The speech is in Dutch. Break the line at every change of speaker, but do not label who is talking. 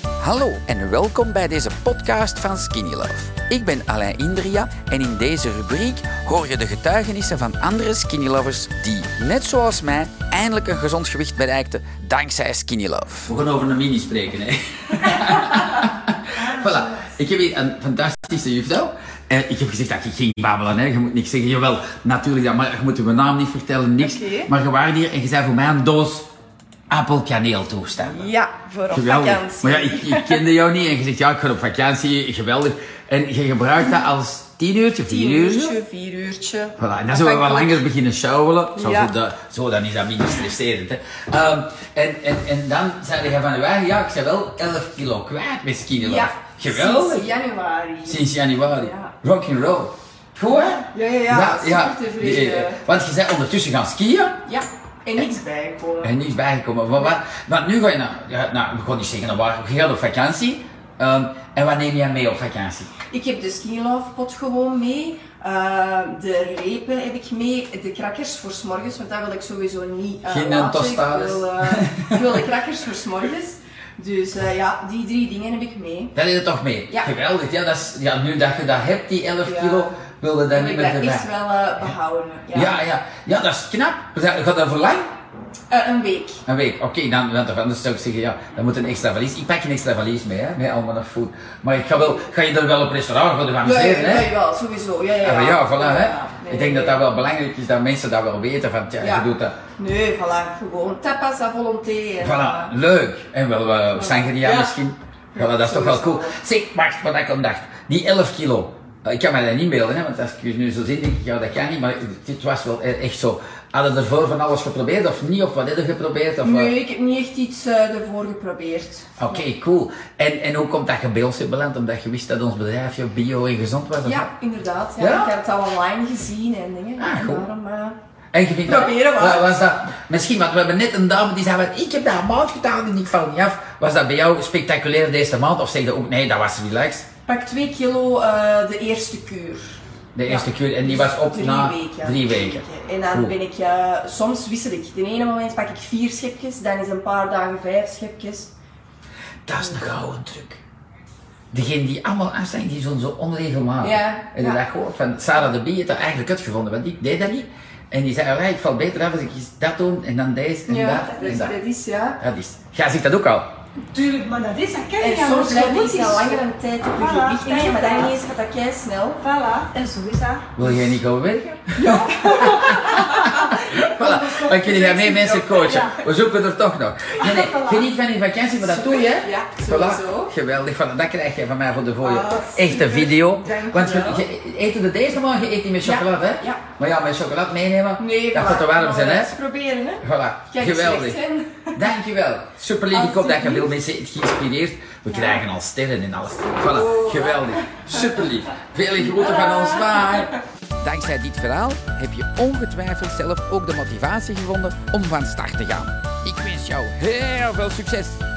Hallo en welkom bij deze podcast van Skinny Love. Ik ben Alain Indria en in deze rubriek hoor je de getuigenissen van andere Skinny Lovers die, net zoals mij, eindelijk een gezond gewicht bereikten dankzij Skinny Love. We gaan over een mini spreken, hè? voilà, ik heb hier een fantastische juffrouw. Eh, ik heb gezegd dat je ging babbelen, hè? je moet niks zeggen. Jawel, natuurlijk, dat, maar je moet je naam niet vertellen, niks.
Oké.
Maar je waren hier en je zei voor mij een doos appelkaneel toestaan.
Ja, voor op
Geweldig.
vakantie.
Maar ja, ik, ik kende jou niet en je zegt, ja, ik ga op vakantie, geweldig. En je gebruikt dat als tien uurtje, vier
Tien
uurtje.
uurtje, vier uurtje.
Voilà, en dan zullen we wel
Afhankelijk.
langer beginnen sjouwelen. Zo,
Ja.
zo, dat- zo, dan is dat minder stresserend. Hè. Ehm, en, en, en dan zei je van, "Waar, ja, ik ben wel 11 kilo kwijt met skinny love.
Ja,
Geweldig.
Sinds januari.
Sinds januari.
Ja.
Rock and roll. Goed, hè?
Ja, ja, ja, super tevreden.
Eh, eh, Want je bent ondertussen gaan skiën.
Ja, en niks bijkomen.
En niet bijgekomen. Maar, wat, maar nu ga je naar, ja, nou, we gaan niet zeggen naar waar, je gaat op vakantie. Ehm, en wat neem jij mee op vakantie?
Ik heb de skinnyloofpot gewoon mee. eh, de repen heb ik mee. De crackers voor 's morgens, want dat wil ik sowieso niet eh,
Geen
laten.
tostades.
Ik wil, eh, ik wil de crackers voor 's morgens. Dus eh, ja, die drie dingen heb ik mee.
Dat is het toch mee?
Ja.
Geweldig, ja, dat is, ja, nu dat je dat hebt, die 11
Ja.
kilo, wilde dat
Wil
niet
ik
meer
dat
erbij.
echt wel eh, behouden. Ja.
Ja. Ja, ja, dat is knap. Dat- Gaat dat voor lang?
Eh, een week.
Een week. Oké, dan, want toch anders zou ik zeggen, ja, dan moet een extra valies. Ik pak een extra valies mee, hè, met allemaal nog food. Maar ik ga wel, ga je er wel op restaurant gaan
Ja, ja,
amuseren, hè?
ja, jawel, sowieso. Ja, ja,
Ja,
ja.
maar ja, voilà, hè.
Ja, nee,
ik denk dat
nee.
dat wel belangrijk is, dat mensen dat wel weten, van, tja,
Ja.
je doet dat.
Nee, voilà, gewoon tapas à volonté. en,
Voilà,
eh,
leuk. En wel eh, sangria
Ja.
misschien. Voilà,
Ja,
dat is toch wel
sowieso.
cool. Zeg, wacht, wat ik om dacht. Die 11 kilo. Eh, Ik kan me dat niet beelden, hè, want als ik je nu zo zie, denk ik, ja, dat kan niet. Maar dit was wel e- echt zo. Hadden ervoor van alles geprobeerd of niet? Of wat hebben geprobeerd? Of, eh?
Nee, ik heb niet echt iets eh, ervoor geprobeerd.
Oké, cool. En, en hoe komt dat je bij ons hebt beland? Omdat je wist dat ons bedrijf ja, bio en gezond was? of wat?
Ja, inderdaad. Ja,
Ja?
Ik heb het al online gezien en dingen.
Ah,
En
goed.
daarom, eh,
En je vindt
Proberen maar.
Wa- Was dat, misschien, want we hebben net een dame die zei, van, ik heb dat een maand gedaan en ik val niet af. Was dat bij jou spectaculair deze maand? Of zei je ook, nee, dat was relaxed?
pak 2 kilo eh, de eerste kuur.
De eerste
Ja. Dus
keer en die was op
drie
na
weken.
drie weken.
En dan
Goed.
ben ik, eh, soms wissel ik. De ene moment pak ik vier schepjes, dan is een paar dagen vijf schepjes.
Dat is een gouden truc. Degenen die allemaal af zijn, die zijn zo onregelmatig.
Ja,
En
ja.
dat gehoord van Sarah de Bie heeft dat eigenlijk uitgevonden, want ik deed dat niet. En die zei, "Alright, ik val beter af als ik eens dat doe en dan deze en
Ja,
dat
dat
en
is,
dat.
dat is ja.
Dat is. Jij ziet dat ook al.
Tuurlijk, maar dat is, dat ken
En
je
soms
anders.
blijft
Dat
iets
is
al
zo.
langer een tijd op je
Voilà,
gewicht liggen, maar dan
voilà.
ineens gaat dat kei snel.
Voilà, en zo is dat.
Wil jij niet gaan werken? Ja. voilà, dan kun je daarmee mensen coachen. We zoeken er toch nog. Nee, nee,
Voilà.
geniet van je vakantie, maar dat doe je. hè?
Ja,
Voilà.
sowieso.
Geweldig, van, dat krijg je van mij voor de voor je.
Ah,
Echte
super.
video.
Dank
Want
je
je,
wel.
je eet het deze normaal, je eet niet met chocolade, hè?
ja.
Maar ja, met chocolade meenemen,
Nee,
dat gaat te
voilà.
warm zijn, hè?
Eens proberen, hè.
Voilà,
Kijk,
geweldig.
slecht zijn.
Dankjewel. Super lief, ik hoop dat je
Alsjeblieft.
veel mensen hebt geïnspireerd. We krijgen al sterren en alles. Voilà,
Oh.
geweldig. Super lief. Vele groeten van ons, bye. Dankzij dit verhaal heb je ongetwijfeld zelf ook de motivatie gevonden om van start te gaan. Ik wens jou heel veel succes.